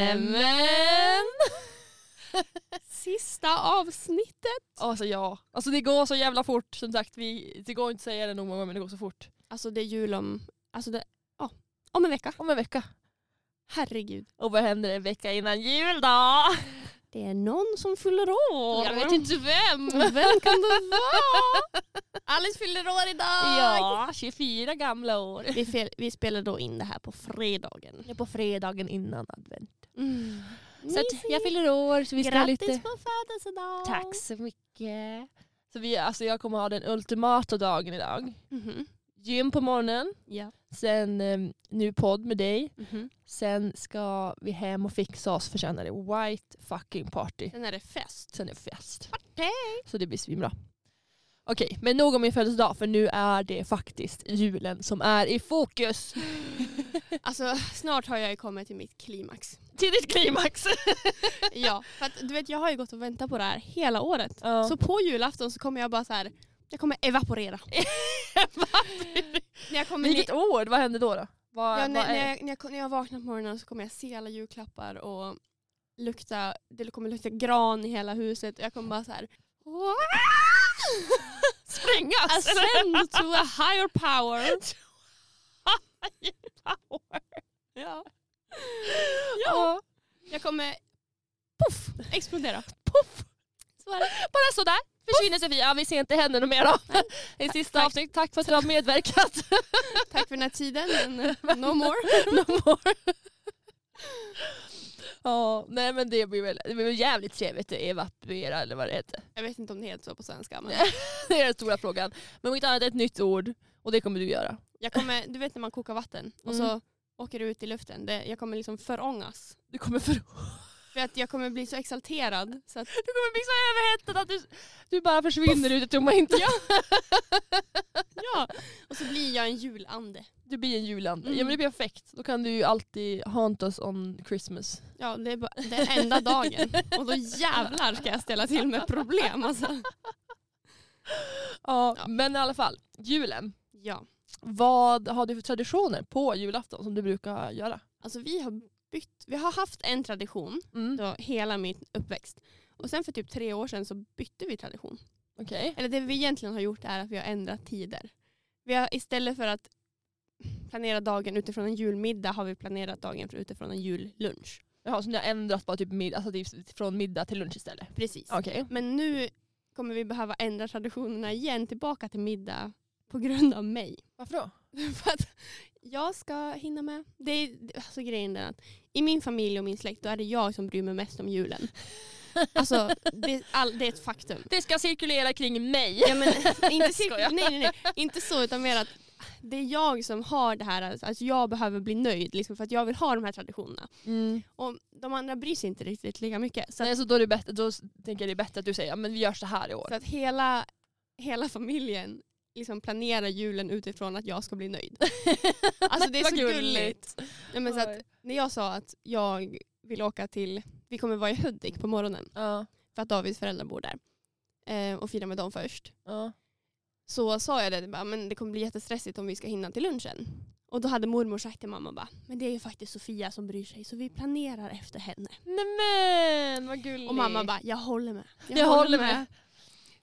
Nämen! Sista avsnittet. Alltså ja. Alltså det går så jävla fort som sagt. Vi, det går inte att säga det nog många gånger men det går så fort. Alltså det är jul om, alltså det, ja, om en vecka. Om en vecka. Herregud. Och vad händer en vecka innan jul då? Det är någon som fyller år. Jag vet inte vem. Vem kan det vara? Alice fyller år idag. Ja, 24 gamla år. Vi, fel, vi spelar då in det här på fredagen. På fredagen innan advent. Mm. Så att jag fyller år så vi ska ha Grattis lite... på födelsedagen. Tack så mycket. Så vi, alltså jag kommer ha den ultimata dagen idag. Mhm. Gym på morgonen, Ja. sen eh, nu podd med dig. Mhm. Sen ska vi hem och fixa oss för sen är det white fucking party. Sen är det fest. Sen är det fest. Party! Så det blir svinbra. Okej, men nog om min födelsedag för nu är det faktiskt julen som är i fokus. Alltså snart har jag ju kommit till mitt klimax. Till ditt klimax! Ja, för att du vet jag har ju gått och väntat på det här hela året. Ja. Så på julafton så kommer jag bara så här, jag kommer evaporera. När jag, kommer Vilket ord, vad händer då? då? Vad, ja, vad när, är- när, jag, när, jag, när jag vaknar på morgonen så kommer jag se alla julklappar och lukta, det kommer lukta gran i hela huset. Jag kommer bara så här. "Wow!" Sprängas! Alltså, Ascend to a higher power. Ja. ja. Jag kommer puff, explodera. Puff. Så är det. Bara sådär försvinner Sofia. Vi ser inte henne något mer då. Det är sista Tack. avsnitt. Tack för att du har medverkat. Tack för den här tiden men eh, no more. No more. Ja, nej men det blir väl, det blir väl jävligt trevligt att evaporera eller vad det heter. Jag vet inte om det heter så på svenska men Det är den stora frågan. Men mitt annat är ett nytt ord och det kommer du göra. jag kommer, du vet när man kokar vatten och så åker det ut i luften. Det, jag kommer liksom förångas. Du kommer, för, du För att jag kommer bli så exalterad så att kommer bli så överhettad att du, du bara försvinner ut i tomma inte. Ja, och så blir jag en julande. Du blir en julande. Mm. Ja men det blir perfekt. Då kan du ju alltid haunt us on Christmas. Ja, det är bara den enda dagen. Och då jävlar ska jag ställa till med problem alltså. Ja, Ja. men i alla fall. Julen. Ja, Vad har du för traditioner på julafton som du brukar göra? alltså vi har bytt. Vi har haft en tradition Mm. då hela min uppväxt. Och sen för typ tre år sedan så bytte vi tradition. Okej. Eller det vi egentligen har gjort är att vi har ändrat tider. Vi har istället för att planera dagen utifrån en julmiddag har vi planerat dagen utifrån en jullunch. Jaha, så ni har ändrat bara typ mid- alltså typ från middag till lunch istället? Precis. Okej. Men nu kommer vi behöva ändra traditionerna igen tillbaka till middag på grund av mig. Varför då? För att jag ska hinna med. Det är, alltså grejen är att i min familj och min släkt då är det jag som bryr mig mest om julen. Alltså det, all, det är ett faktum. Det ska cirkulera kring mig. Ja, men, inte, Skojar. cirka, nej, nej, nej, inte så utan mer att det är jag som har det här, alltså, att jag behöver bli nöjd liksom, för att jag vill ha de här traditionerna. Mm. Och de andra bryr sig inte riktigt lika mycket. Så, att, Nej, så då, är det bättre, då tänker jag det är bättre att du säger "Ja, men vi gör så här i år. så att hela, hela familjen liksom planerar julen utifrån att jag ska bli nöjd. Alltså det är Vad så gulligt. Ja, men så att, Oj. när jag sa att jag vill åka till, vi kommer vara i Hudik på morgonen Ja. för att Davids föräldrar bor där eh, och fira med dem först. Ja. Så sa jag det, det, bara, men det kommer bli jättestressigt om vi ska hinna till lunchen. Och då hade mormor sagt till mamma bara, men det är ju faktiskt Sofia som bryr sig så vi planerar efter henne. Nämen vad gulligt. Och mamma bara, jag håller med. jag, håller med.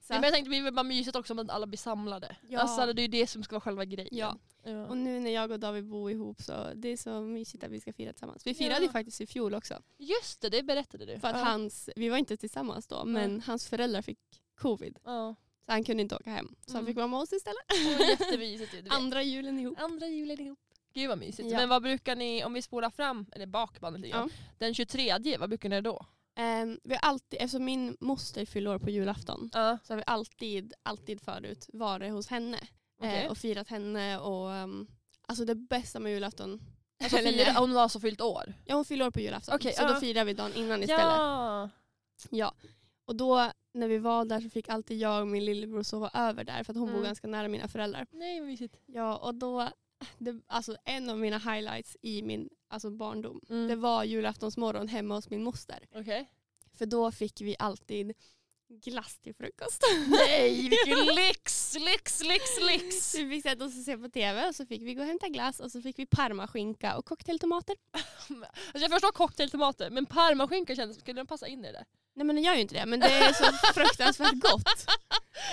Så Nej, men att, jag tänkte det blir väl bara mysigt också om att alla blir samlade. Ja. Alltså, det är ju det som ska vara själva grejen. Ja. Ja. och nu när jag och David bor ihop så det är så mysigt att vi ska fira tillsammans. Vi firade ju Ja. faktiskt i fjol också. Just det, det berättade du. För att ja. hans, vi var inte tillsammans då men hans föräldrar fick covid. Ja. Så han kunde inte åka hem. Så han Mm. fick vara med oss istället. Det var jättemysigt ju. du vet. Andra julen ihop. Andra julen ihop. Gud vad mysigt. Ja. Men vad brukar ni, om vi spolar fram, eller bak bandet lite grann. Den 23, vad brukar ni göra då? Ehm, vi har alltid, eftersom min moster fyller år på julafton Ja. så har vi alltid, alltid förut varit hos henne. eh, Okej. och firat henne och ehm, alltså det bästa med julafton. Alltså, Eller fyra, nej. hon har alltså fyllt år? ja hon fyller år på julafton Okej, så ja. då firar vi dagen innan istället. Ja! Ja. Och då när vi var där så fick alltid jag och min lillebror sova över där för att hon Mm. bor ganska nära mina föräldrar. Nej vad mysigt. Ja och då, det, alltså en av mina highlights i min alltså barndom Mm. det var julaftonsmorgon hemma hos min moster. Okej. För då fick vi alltid glass till frukost. Nej, vilken lyx, lyx, lyx, lyx. Vi fick sätta oss och se på tv och så fick vi gå och hämta glass och så fick vi parmaskinka och cocktailtomater. Alltså jag förstår cocktailtomater, men parmaskinka kändes, skulle den passa in i det? Nej men den gör ju inte det men det är så fruktansvärt gott.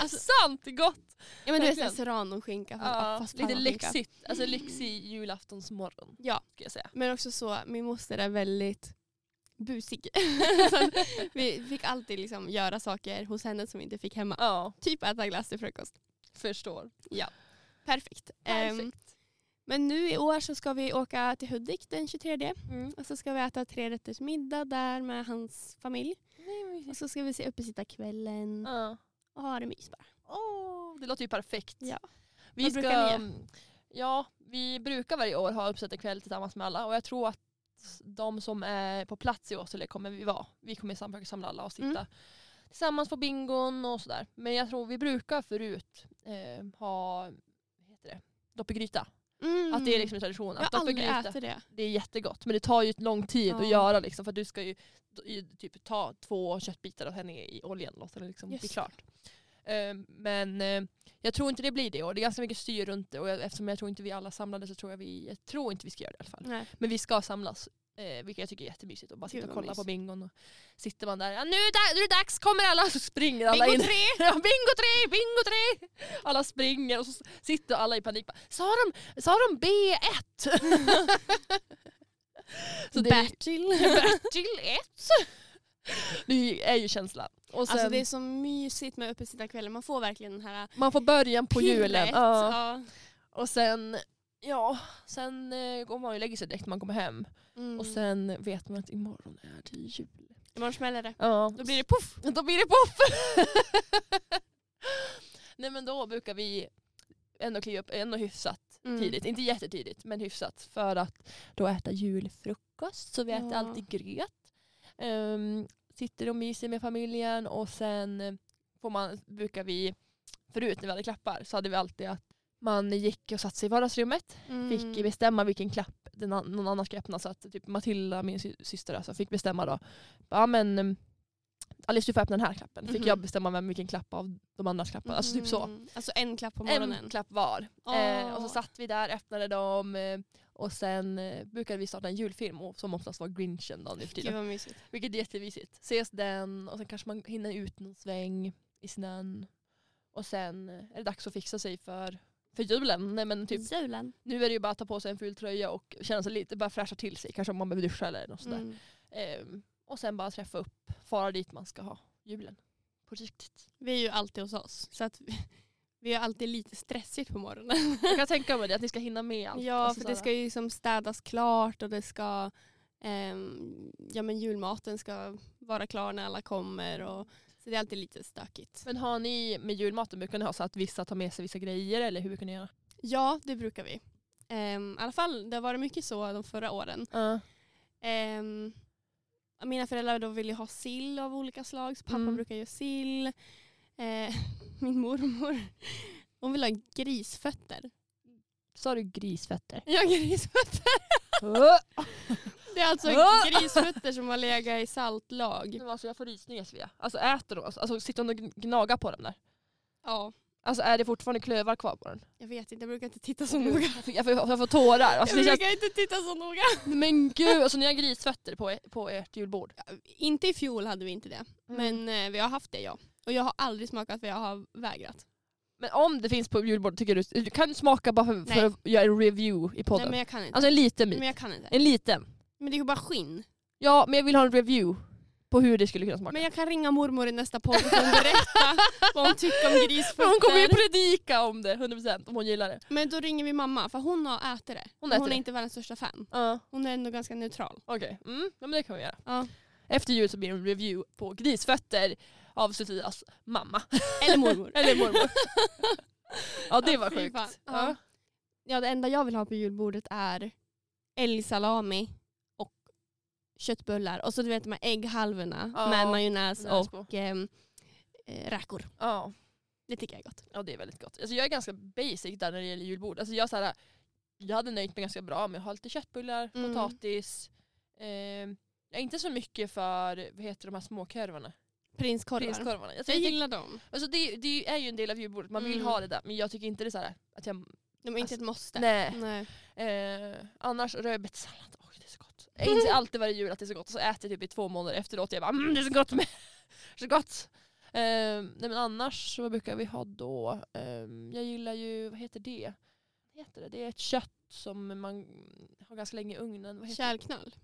Alltså- Sant gott! Ja men du vet sån här Verkligen. serranoskinka fast, Ja, fast lite parmaskinka. lyxigt, alltså lyxig julaftonsmorgon Ja ska jag säga. men också så, min moster är väldigt busig. så att vi fick alltid liksom göra saker hos henne som vi inte fick hemma. Ja, Typ äta glass till frukost. förstår. Perfekt. Ehm, Perfekt. men nu i år så ska vi åka till Hudik den 23 Mm. och så ska vi äta tre rätters middag där med hans familj. Nej, men Och mysigt. så ska vi se uppesittarkvällen Ja. och ha det mys bara. Åh, det låter ju perfekt. Ja. Vi Vad ska, brukar ni Ja, vi brukar varje år ha uppsättarkväll tillsammans med alla och jag tror att de som är på plats i Åsele kommer vi vara. Vi kommer sam- försöka samla alla och sitta Mm. tillsammans på bingon och sådär. Men jag tror vi brukar förut eh, ha vad heter det? doppelgryta. Att det är liksom en tradition. Mm. Jag Att har aldrig doppelgryta, ätit det. det är jättegott men det tar ju lång tid Ja. att göra liksom, för att du ska ju, i- typ ta två köttbitar och henne i oljan och låta det liksom Just bli det. klart. Eh, men eh, jag tror inte det blir det och det är ganska mycket styr runt det och jag, eftersom jag tror inte vi alla samlade så tror jag vi, jag tror inte vi ska göra det i alla fall. Nej. Men vi ska samlas. Eh, vilket jag tycker är jättemysigt. Och bara Gud, sitta och vad kolla på mysigt. bingon. Och sitter man där. Ja, nu, är det, nu är det dags, kommer alla! Så springer alla Bingo in. Ja, bingo tre! Bingo tre! Alla springer och så sitter alla i panik. bara, Sa de, sa de B1? så det är Bertil. Bertil 1. Det är ju känslan. Och sen, Alltså det är så mysigt med uppesittarkvällen. Man får verkligen den här man får början på pirret. julen. Ja. Ja. Och sen, ja, sen eh, går man ju och lägger sig direkt när man kommer hem. Mm. Och sen vet man att imorgon är det jul. Imorgon smäller det. Ja. Då blir det poff. Då blir det poff! Nej men då brukar vi ändå kliva upp ändå hyfsat Mm. tidigt. Inte jättetidigt men hyfsat. För att då äta julfrukost. Så vi äter Ja. alltid gröt. Ehm, sitter och myser med familjen och sen får man, brukar vi, förut när vi hade klappar så hade vi alltid att man gick och satte sig i vardagsrummet Mm. fick bestämma vilken klapp den an- någon annan ska öppna. Så att typ Matilda, min sy- syster, alltså, fick bestämma då. Ja men um, Alice du får öppna den här klappen. Fick Mhm. jag bestämma vem, vilken klapp av de andras klappar. Alltså typ så. Mm. Alltså en klapp på morgonen. En klapp var. Eh, och så Åh. satt vi där, öppnade dem eh, och sen eh, brukade vi starta en julfilm och- som oftast var Grinchen då nu för Gud tiden. vad mysigt. Vilket är jättemysigt. Ses den och sen kanske man hinner ut någon sväng i snön. Och sen eh, är det dags att fixa sig för, för julen. Nej, men typ Julen. nu är det ju bara att ta på sig en ful tröja och känna sig lite, bara fräscha till sig. Kanske om man behöver duscha eller något sådär. Mm. Ehm, och sen bara träffa upp, fara dit man ska ha julen. På riktigt. Vi är ju alltid hos oss. Så att vi, vi är alltid lite stressigt på morgonen. Jag kan tänka mig det, att ni ska hinna med allt. Ja, Alltså för det sådär. ska ju liksom städas klart och det ska ehm, ja, men julmaten ska vara klar när alla kommer. Och, så det är alltid lite stökigt. Men har ni med julmaten, brukar ni ha så att vissa tar med sig vissa grejer eller hur brukar ni göra? Ja, det brukar vi. Um, I alla fall, det har varit mycket så de förra åren. Ehm, mina föräldrar då ville ju ha sill av olika slag, så pappa Mm. brukar göra sill. Eh, min mormor, hon vill ha grisfötter. Sa du grisfötter? Ja, grisfötter. Det är alltså Ah! grisfötter som har legat i saltlag. Nu, alltså, jag får rysningar Svea. Alltså äter de? Alltså, sitter hon och gn- gnagar på dem där? Ja, Alltså är det fortfarande klövar kvar på den? jag vet inte, jag brukar inte titta så noga. Jag får, jag får, jag får tårar. Mm. Alltså, det Oh jag känns, brukar inte titta så noga. men gud, alltså, ni har grisfötter på, e- på ert julbord? Inte i fjol hade vi inte det, Mm. men eh, vi har haft det ja. Och jag har aldrig smakat för jag har vägrat. Men om det finns på julbordet, tycker du, du kan du smaka bara för, för Nej. att göra en review i podden? Nej men jag kan inte. Alltså en liten bit. Men jag kan inte. En liten. Men det är ju bara skinn. Ja, men jag vill ha en review på hur det skulle kunna smaka. Men jag kan ringa mormor i nästa podd och berätta vad hon tycker om Men hon kommer ju grisfötter. predika om det 100% om hon gillar det. Men då ringer vi mamma för hon har ätit det. Hon Men äter hon är det. inte världens största fan. Ja, Hon är ändå ganska neutral. Okej, mm, ja, men det kan vi göra. Ja. Efter jul så blir det en review på grisfötter av Sofias mamma. Eller mormor. Eller mormor. ja det Ja, var fy sjukt. fan. Ja. Ja. Ja det enda jag vill ha på julbordet är älgsalami och köttbullar. Och så du vet de här ägghalvorna Ja, med majonnäs majonnäs på. och ehm, eh, räkor. Ja. Det tycker jag är gott. ja, det är väldigt gott. Alltså, jag är ganska basic där när det gäller julbord. Alltså, jag, så här, jag hade nöjt mig ganska bra med att ha lite köttbullar, Mm. potatis, eh, Ja, inte så mycket för, vad heter de här småkorvarna? Prinskorvar. Prinskorvarna. Jag, Jag tycker- gillar dem. alltså, det, det är ju en del av julbordet, man vill Mm. ha det där. Men jag tycker inte det är så här att jag... De är inte Alltså, ett måste. Nej. Nej. Eh, annars rödbetssallad, oj det är så gott. Jag inser alltid varje jul att det är så gott och så äter jag typ i två månader efteråt. Jag bara mm, det är så gott med, så gott. Eh, nej men annars, vad brukar vi ha då? Eh, jag gillar ju, vad heter det? Vad heter det? Det är ett kött som man har ganska länge i ugnen. Vad heter Kärlknöl. det?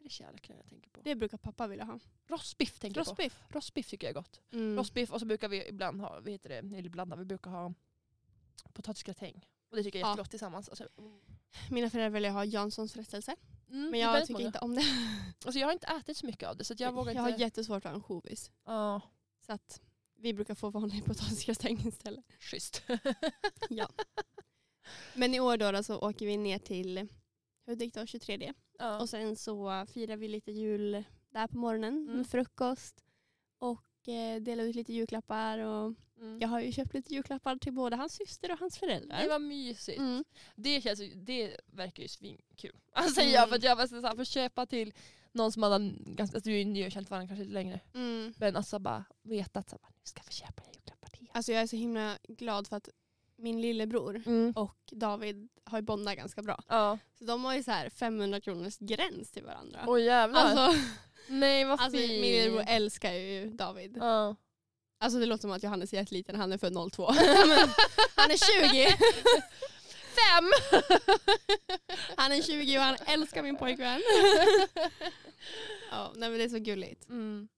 Är det kärleknöl jag tänker på? Det brukar pappa vilja ha. Rostbiff tänker jag på. Rostbiff. Rostbiff tycker jag är gott. Mm. Rostbiff och så brukar vi ibland ha, vad heter det? Eller ibland, vi brukar ha potatisgratäng. Och det tycker jag är Ja. jättegott tillsammans. Alltså, Mina föräldrar ville ha Janssons frestelse. mm, det Men är jag väldigt tycker många. inte om det. Alltså jag har inte ätit så mycket av det så att jag vågar har inte. jättesvårt för ansjovis. Ja, Så att vi brukar få vanlig potatisgratäng istället. schysst. Men i år då, då så åker vi ner till Hudik då, 23D. ja. Och sen så firar vi lite jul där på morgonen Mm. med frukost. Och eh, delar ut lite julklappar. Och mm. jag har ju köpt lite julklappar till både hans syster och hans föräldrar. Det var mysigt. Mm. Det, känns, ju- det verkar ju svinkul. Alltså, Mm. säger jag, för att jag var så här, för att köpa till någon som man ganska, alltså, du har ju känt varandra kanske lite längre. Mm. Men alltså bara vetat att nu ska vi köpa julklappar till. Alltså jag är så himla glad för att min lillebror Mm. och David har ju bondat ganska bra. Ja. Så de har ju så här 500 kronors gräns till varandra. Oj jävlar. Alltså, Nej vad alltså fint. min lillebror älskar ju David. Ja. Alltså det låter som att Johannes är jätteliten, han är född 02. Men han är 20! Fem! Han är 20 och han älskar min pojkvän. Ja, nej men det är så gulligt. Mm.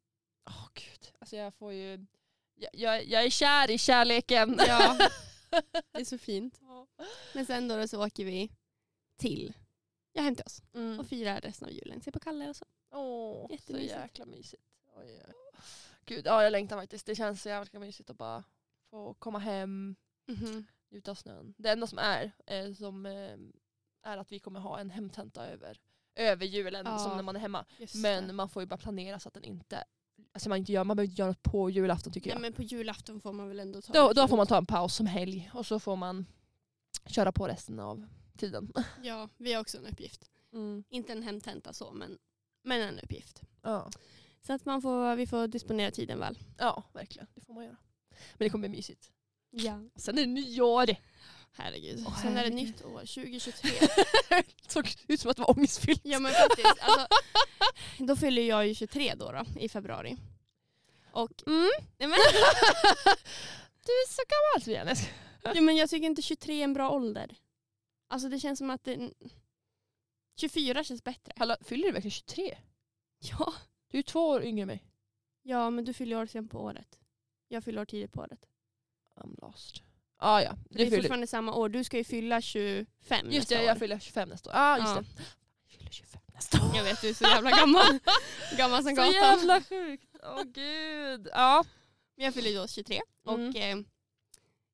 Åh gud. Alltså jag får ju, jag, jag, jag är kär i kärleken. Ja. Det är så fint. Men sen då så åker vi till jag hämtar oss Mm. och firar resten av julen. Se på Kalle och så. Åh, så Jättemysigt. jäkla mysigt. Oj, oj. Gud, ja, jag längtar faktiskt. Det känns så jävla mysigt att bara få komma hem, njuta av snön. Det enda som är, eh, som, eh, är att vi kommer ha en hemtenta över, över julen Ja, som när man är hemma. Just det. Men man får ju bara planera så att den inte, alltså man, inte gör, man behöver inte göra något på julafton tycker Nej, jag. men på julafton får man väl ändå ta Då, då får man ta en paus som helg och så får man köra på resten av tiden. Ja, vi har också en uppgift. Inte en hemtenta så, men, men en uppgift. Ja. Så att man får, vi får disponera tiden väl. ja, verkligen. Det får man göra. Men det kommer bli mysigt. Ja. Sen är det nyår! Herregud. Åh, Sen är det herregud. nytt år, 2023. såg ut som att det var ångestfyllt. ja men faktiskt. Alltså, då fyller jag ju 23 då, då i februari. Och Mm. nej, men, Du är så gammal Sofia. Nej, jag skojar. ja, men jag tycker inte 23 är en bra ålder. Alltså det känns som att det, 24 känns bättre. Hallå, fyller du verkligen 23? Ja. Du är två år yngre än mig. ja men du fyller år sen på året. Jag fyller år tidigt på året. I'm lost. Ah, ja, Det du är fyller. fortfarande samma år. Du ska ju fylla 25 Just nästa det, år. jag fyller 25 nästa år. Ah, just Ja. det. Jag fyller 25 nästa år. Jag vet, du är så jävla gammal. gammal som Så gatan. jävla sjukt. Åh gud. Ja. Men jag fyller ju då 23 och Mm. eh,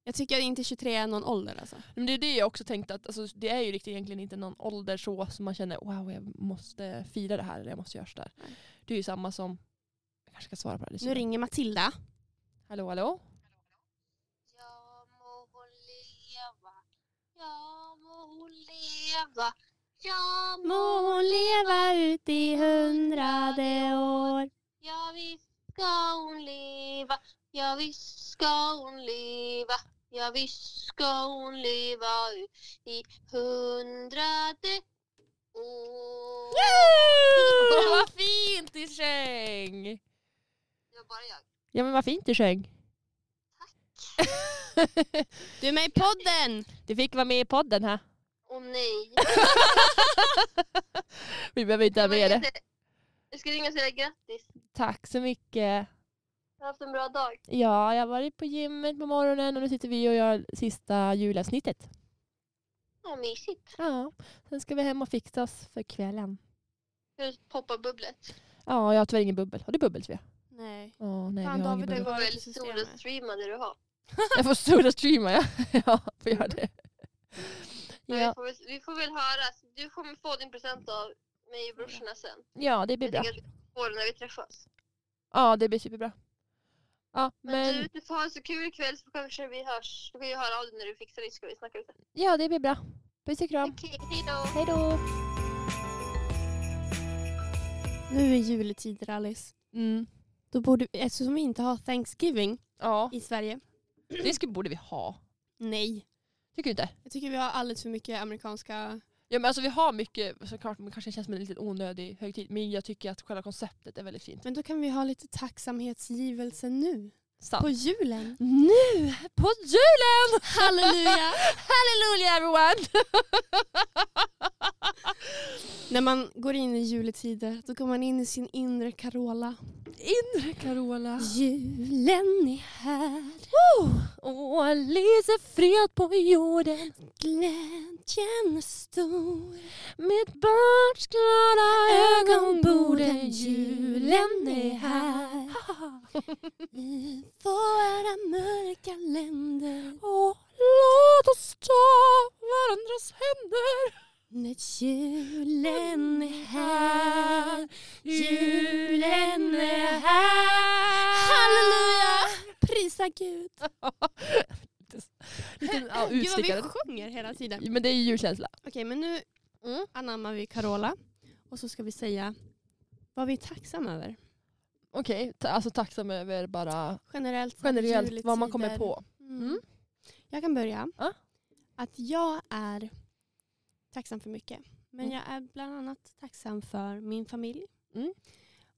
jag tycker inte 23 är någon ålder alltså. Men det är det jag också tänkte att alltså, det är ju riktigt egentligen inte någon ålder så som man känner wow jag måste fira det här eller jag måste göra sådär. Nej. Det är ju samma som, jag kanske ska svara på det här. Nu ringer Matilda. Hallå hallå? Ja må hon leva. Ja må hon leva. Ja må, hon leva ut i hundrade år. ja visst ska hon leva. Ja visst ska hon leva. Ja visst ska hon leva ut i hundrade år. Åh, vad fint i säng! Det var bara jag. Ja men vad fint i säng. Du är med i podden! Du fick vara med i podden här. Åh nej. Vi behöver inte ha med Jag det. ska- Jag ska ringa och säga grattis. Tack så mycket. Jag har haft en bra dag. Ja, jag har varit på gymmet på morgonen och nu sitter vi och gör sista julavsnittet. Åh mysigt. Ja, sen ska vi hem och fixa oss för kvällen. Nu poppar bubblet. Ja, jag har tyvärr ingen bubbel. Har du bubbel Svea? Nej. Åh nej, Fan, vi har ingen David, bubbel. Du var får det väl för systemet? solostreama det du har. Jag får stora streama, ja. ja, får göra det. Men vi, Ja, får väl, vi får väl höras. Du kommer få din present av mig och brorsorna sen. ja, det blir Jag bra. tänker att vi får den när vi träffas. Ja, det blir superbra. Ja, Men, men du, du får ha en så kul ikväll så kanske vi hörs. Du kan ju höra av dig när du fixar det så ska vi snacka lite. ja, det blir bra. Puss och kram. Okej, hejdå! Hej då! Nu är juletider Alice. Mm. Då borde vi, eftersom vi inte har Thanksgiving Ja, i Sverige. det ska, borde vi ha. Nej. Tycker du inte? Jag tycker vi har alldeles för mycket amerikanska... Ja, men alltså, vi har mycket, såklart, men kanske känns som en lite onödig högtid. Men jag tycker att själva konceptet är väldigt fint. Men då kan vi ha lite tacksamhetsgivelse nu. Sant. På julen. Nu på julen! Halleluja! Hallelujah everyone! När man går in i juletider då går man in i sin inre Carola. Inre Carola. Julen är här, Åh, lyser fred på jorden glädjen är stor. Mitt barns glada ögon borde Ögonborden, julen är här. I våra mörka länder, Åh, låt oss ta varandras händer när julen är här. Julen är här Halleluja! Prisa Gud. Liten ja, Gud vad vi utstickare. sjunger hela tiden. Men det är ju julkänsla. Okej, men nu Mm. anammar vi Carola och så ska vi säga vad vi är tacksamma över. Okej, ta- alltså tacksam över bara Generellt. generellt vad man juletider. kommer på. Mm. Mm. Jag kan börja. Ja. Att jag är tacksam för mycket. Men Mm. jag är bland annat tacksam för min familj. Mm.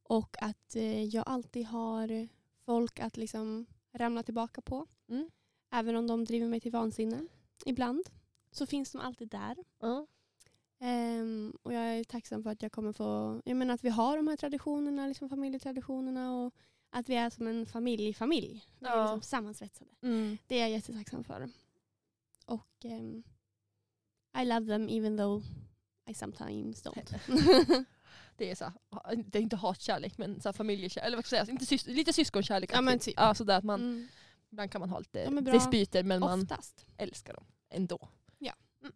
Och att eh, jag alltid har folk att liksom ramla tillbaka på. Mm. Även om de driver mig till vansinne ibland så finns de alltid där. Ja. Ehm, och jag är tacksam för att jag kommer få, jag menar att vi har de här traditionerna, liksom familjetraditionerna och att vi är som en familjefamilj. Vi är Ja. liksom sammansvetsade. Mm. Det är jag jättetacksam för. Och ehm, I love them even though I sometimes don't. Det är så, här, det är inte hatkärlek men så här familjekärlek, eller vad ska jag säga, inte sys lite syskonkärlek. Ja, alltid. men typ. ja, sådär att man, mm, Ibland kan man ha lite Ja, men bra. dispyter men man oftast. älskar dem ändå. Ja. Mm.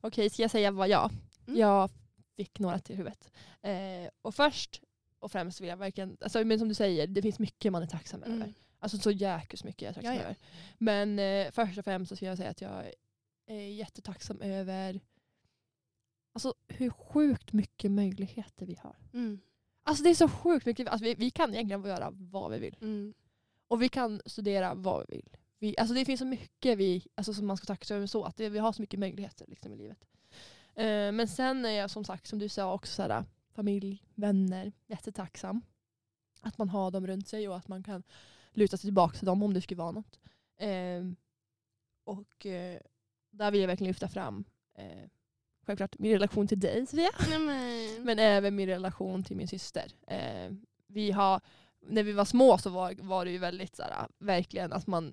Okej, ska jag säga vad jag? Mm. Jag fick några till huvudet. Eh, och först och främst vill jag verkligen, alltså, men som du säger, det finns mycket man är tacksam över. Mm. Alltså så jäkligt mycket jag är tacksam Ja, ja. över. Men eh, först och främst så ska jag säga att jag är jättetacksam över alltså, hur sjukt mycket möjligheter vi har. Mm, Alltså det är så sjukt mycket. Alltså, vi, vi kan egentligen göra vad vi vill. mm, Och vi kan studera vad vi vill. Vi, alltså det finns så mycket vi, alltså som man ska tacka sig över så. Att det, vi har så mycket möjligheter liksom, i livet. Eh, men sen är jag som sagt, som du sa också, så här, familj, vänner, jättetacksam. Att man har dem runt sig och att man kan luta sig tillbaka till dem om det skulle vara något. Eh, och eh, där vill jag verkligen lyfta fram eh, självklart min relation till dig Sofia. Nej, men, Men även min relation till min syster. Eh, vi har, när vi var små så var, var det ju väldigt såhär, verkligen att man,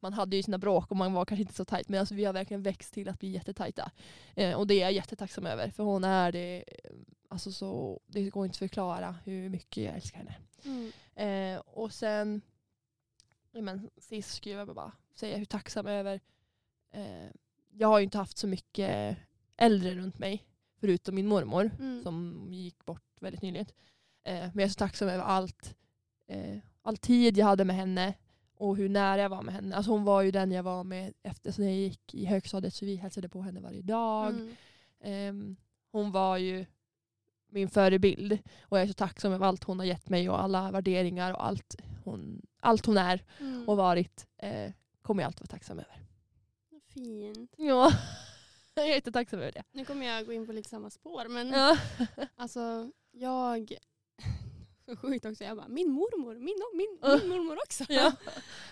man hade ju sina bråk och man var kanske inte så tajt. Men alltså, vi har verkligen växt till att bli jättetajta. Eh, och det är jag jättetacksam över. För hon är det, eh, alltså så, det går inte att förklara hur mycket jag älskar henne. mm, Eh, och sen, ja, men, sist skulle jag bara säga hur tacksam jag är över. Eh, jag har ju inte haft så mycket äldre runt mig. Förutom min mormor mm, som gick bort väldigt nyligen. Eh, men jag är så tacksam över allt, eh, all tid jag hade med henne och hur nära jag var med henne. Alltså hon var ju den jag var med efter så när jag gick i högstadiet så vi hälsade på henne varje dag. mm, Ehm, hon var ju min förebild och jag är så tacksam över allt hon har gett mig och alla värderingar och allt hon, allt hon är mm. och varit eh, kommer jag alltid vara tacksam över. Mm. Fint. Ja, jag är jättetacksam över det. Nu kommer jag gå in på lite samma spår men Ja. Alltså jag... Så sjukt också. Jag bara, min mormor, min, min, Ja. min mormor också. Ja.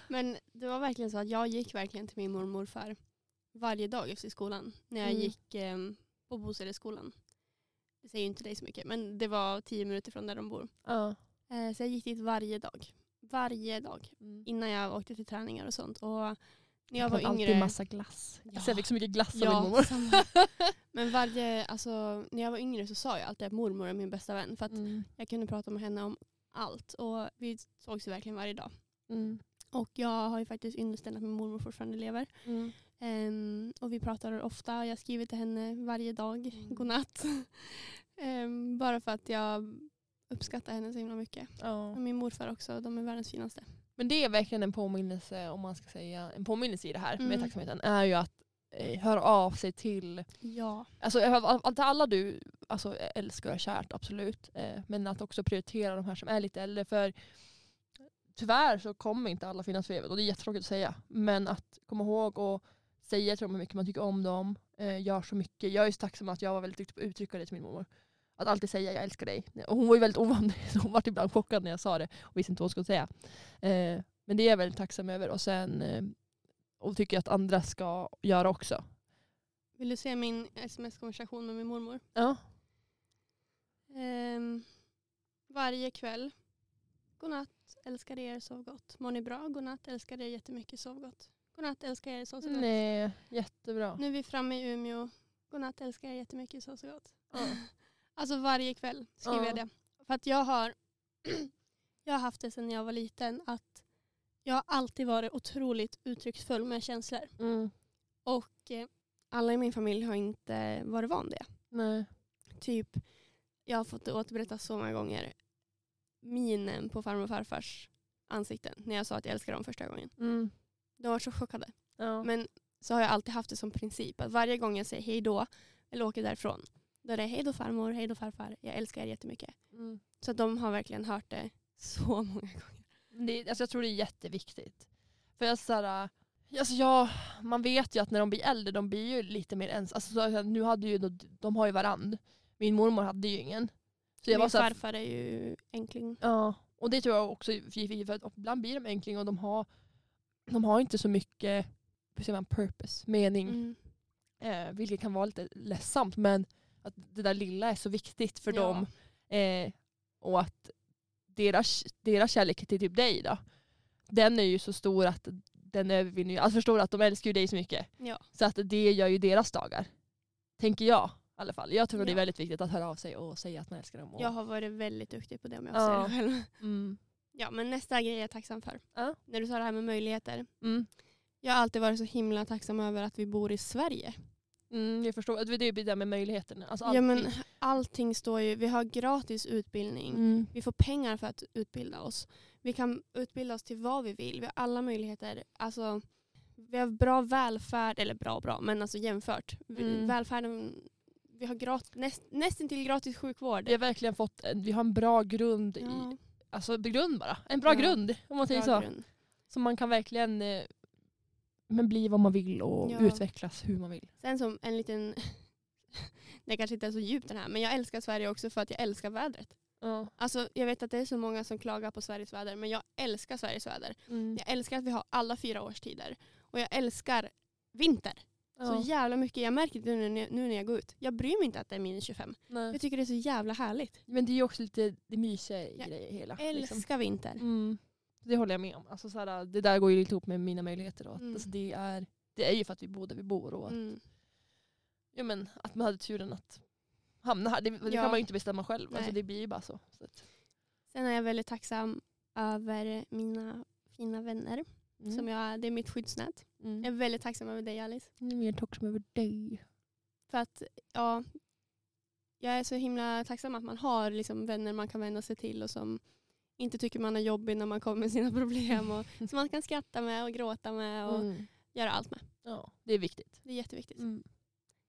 Men det var verkligen så att jag gick verkligen till min mormor för varje dag efter skolan. När jag Mm. gick eh, på Bosedeskolan. Det säger ju inte dig så mycket men det var tio minuter från där de bor. Ja. Eh, så jag gick dit varje dag. Varje dag. Mm. Innan jag åkte till träningar och sånt. Och när jag, Jag var var yngre... alltid massa glass. Ja. Alltså jag fick så mycket glass av min Ja, Mm. mormor. samma. Men varje, alltså, när jag var yngre så sa jag alltid att mormor är min bästa vän. För att Mm. Jag kunde prata med henne om allt och vi sågs ju verkligen varje dag. Mm. Och jag har ju faktiskt ynnesten att min mormor fortfarande lever. Mm. Ehm, och vi pratar ofta, jag skriver till henne varje dag, Mm. godnatt. Ehm, bara för att jag uppskattar henne så himla mycket. Ja. Och min morfar också, de är världens finaste. Men det är verkligen en påminnelse, om man ska säga, en påminnelse i det här med Mm. tacksamheten, är ju att eh, eh, höra av sig till Ja. Alltså jag har- all- till alla du alltså, älskar och kärt, absolut. Eh, Men att också prioritera de här som är lite äldre. För tyvärr så kommer inte alla finnas för evigt och det är jättetråkigt att säga. Men att komma ihåg och säga till dem hur mycket man tycker om dem. eh, Gör så mycket. Jag är ju så tacksam att jag var väldigt duktig på att uttrycka det till min mormor. Att alltid säga jag älskar dig. Och hon var ju väldigt ovan det, så hon var typ ibland chockad när jag sa det och visste inte vad hon skulle säga. Eh, Men det är jag väldigt tacksam över och sen eh, och tycker jag att andra ska göra också. Vill du se min sms-konversation med min mormor? Ja. Ehm, varje kväll. Godnatt, älskar er, sov gott. Mår ni bra? Godnatt, älskar er jättemycket, sov gott. Godnatt, älskar er, sov så gott. Nej, jättebra. Nu är vi framme i Umeå. Godnatt, älskar er jättemycket, sov så gott. Ja. Alltså varje kväll skriver Ja. jag det. För att jag har, jag har haft det sedan jag var liten att jag har alltid varit otroligt uttrycksfull med känslor. Mm. Och eh, alla i min familj har inte varit van det. Nej. Typ, jag har fått det återberättat så många gånger. Minen på farmor och farfars ansikten när jag sa att jag älskar dem första gången. Mm. De var så chockade. Ja. Men så har jag alltid haft det som princip att varje gång jag säger hej då eller åker därifrån, då är det hej då farmor, hej då farfar, jag älskar er jättemycket. Mm. Så att de har verkligen hört det så många gånger. Det, alltså jag tror det är jätteviktigt. För jag, är så här, äh, alltså jag, man vet ju att när de blir äldre, de blir ju lite mer ens. Alltså, så, här, nu hade ju, de- de har ju varand. Min mormor hade ju ingen. Så jag Min var så här, farfar är ju enkling. ja, och det tror jag också, för, för att ibland blir de enkling och de har, de har inte så mycket hur säger man, purpose, mening. Mm. Eh, vilket kan vara lite ledsamt men att det där lilla är så viktigt för Ja. dem. Eh, och att deras, deras kärlek till typ dig då, den är ju så stor att den övervinner ju. Alltså förstår du att de älskar ju dig så mycket. Ja. Så att det gör ju deras dagar. Tänker jag i alla fall. Jag tror det är Ja. väldigt viktigt att höra av sig och säga att man älskar dem. Och, Jag har varit väldigt duktig på det om jag Ja. säger det själv. mm. Ja, men nästa grej jag är tacksam för. Ja. När du sa det här med möjligheter. Mm. Jag har alltid varit så himla tacksam över att vi bor i Sverige. Mm, jag förstår. Det är ju det där med möjligheterna. Alltså Ja, alltid- men allting står ju, vi har gratis utbildning. mm. Vi får pengar för att utbilda oss. Vi kan utbilda oss till vad vi vill. Vi har alla möjligheter. Alltså, vi har bra välfärd, eller bra och bra, men alltså jämfört. Vi, Mm. Välfärden, vi har grat, näst, nästan till gratis sjukvård. Vi har verkligen fått, en- vi har en bra grund i, Ja, alltså grund bara. En bra Ja. grund om man säger så. bra grund. Så man kan verkligen eh, men bli vad man vill och Ja. utvecklas hur man vill. Sen som en liten, det kanske inte är så djupt den här, men jag älskar Sverige också för att jag älskar vädret. Ja. Alltså, jag vet att det är så många som klagar på Sveriges väder, men jag älskar Sveriges väder. Mm. Jag älskar att vi har alla fyra årstider. Och jag älskar vinter Ja. så jävla mycket. Jag märker det nu när, nu när jag går ut. Jag bryr mig inte att det är minus 25. Nej. Jag tycker det är så jävla härligt. Men det är ju också lite det mysiga i Jag det hela. liksom. typ- Älskar vinter. Mm. Det håller jag med om. Alltså, så här, det där går ju lite ihop med mina möjligheter. Då. Att, Mm. alltså, det, är, det är ju för att vi bor där vi bor. Och att, Mm. ja, men, att man hade turen att hamna här. Det, det Ja. kan man ju inte bestämma själv. Alltså, Nej. det blir ju bara så. så att, Sen är jag väldigt tacksam över mina fina vänner. mm. Som jag, det är mitt skyddsnät. Mm. Jag är väldigt tacksam över dig Alice. Nu är mer tacksam över dig. För att ja, jag är så himla tacksam att man har liksom vänner man kan vända sig till och som inte tycker man är jobbig när man kommer med sina problem. Och, som man kan skratta med och gråta med och Mm. göra allt med. Ja, det är viktigt. Det är jätteviktigt. Mm.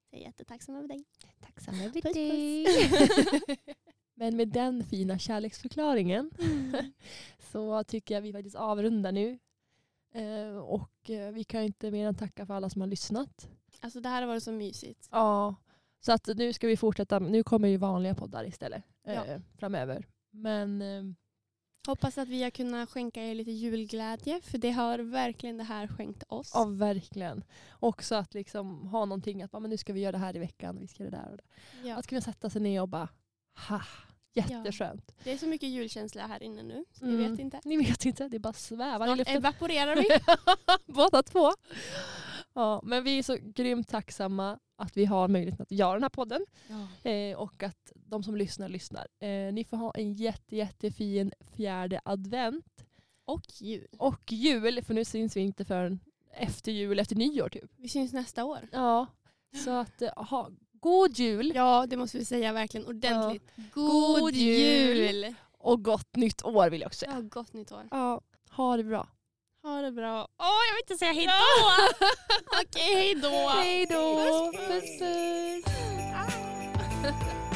Jag är jättetacksam över dig. Tacksam över Puss, dig. Men med den fina kärleksförklaringen Mm. så tycker jag vi faktiskt avrundar nu. Eh, och eh, vi kan ju inte mer än tacka för alla som har lyssnat. Alltså det här har varit så mysigt. Ja. Så att nu ska vi fortsätta. Nu kommer ju vanliga poddar istället eh, Ja. framöver. Men eh, Hoppas att vi har kunnat skänka er lite julglädje för det har verkligen det här skänkt oss. ja, verkligen. Också att liksom ha någonting att bara, men nu ska vi göra det här i veckan. Vi ska göra det där och det. Ja. Att kunna sätta sig ner och bara ha, jätteskönt. Det är så mycket julkänsla här inne nu så ni Mm. vet inte. Ni vet inte, det är bara svävar i Snart luften. evaporerar vi. Båda två. Ja, men vi är så grymt tacksamma att vi har möjligheten att göra den här podden eh, och att de som lyssnar lyssnar. Eh, ni får ha en jätte, jättefin fjärde advent Och jul. och jul för nu syns vi inte förrän efter jul, efter nyår typ. Vi syns nästa år. Ja, så att eh, ha god jul Ja, det måste vi säga verkligen ordentligt. God jul! och gott nytt år vill jag också säga. Ja, gott nytt år. Ja, ha det bra. Ha det bra. Åh, jag vill inte säga hejdå! Okej, hejdå! Hej då! Puss, puss!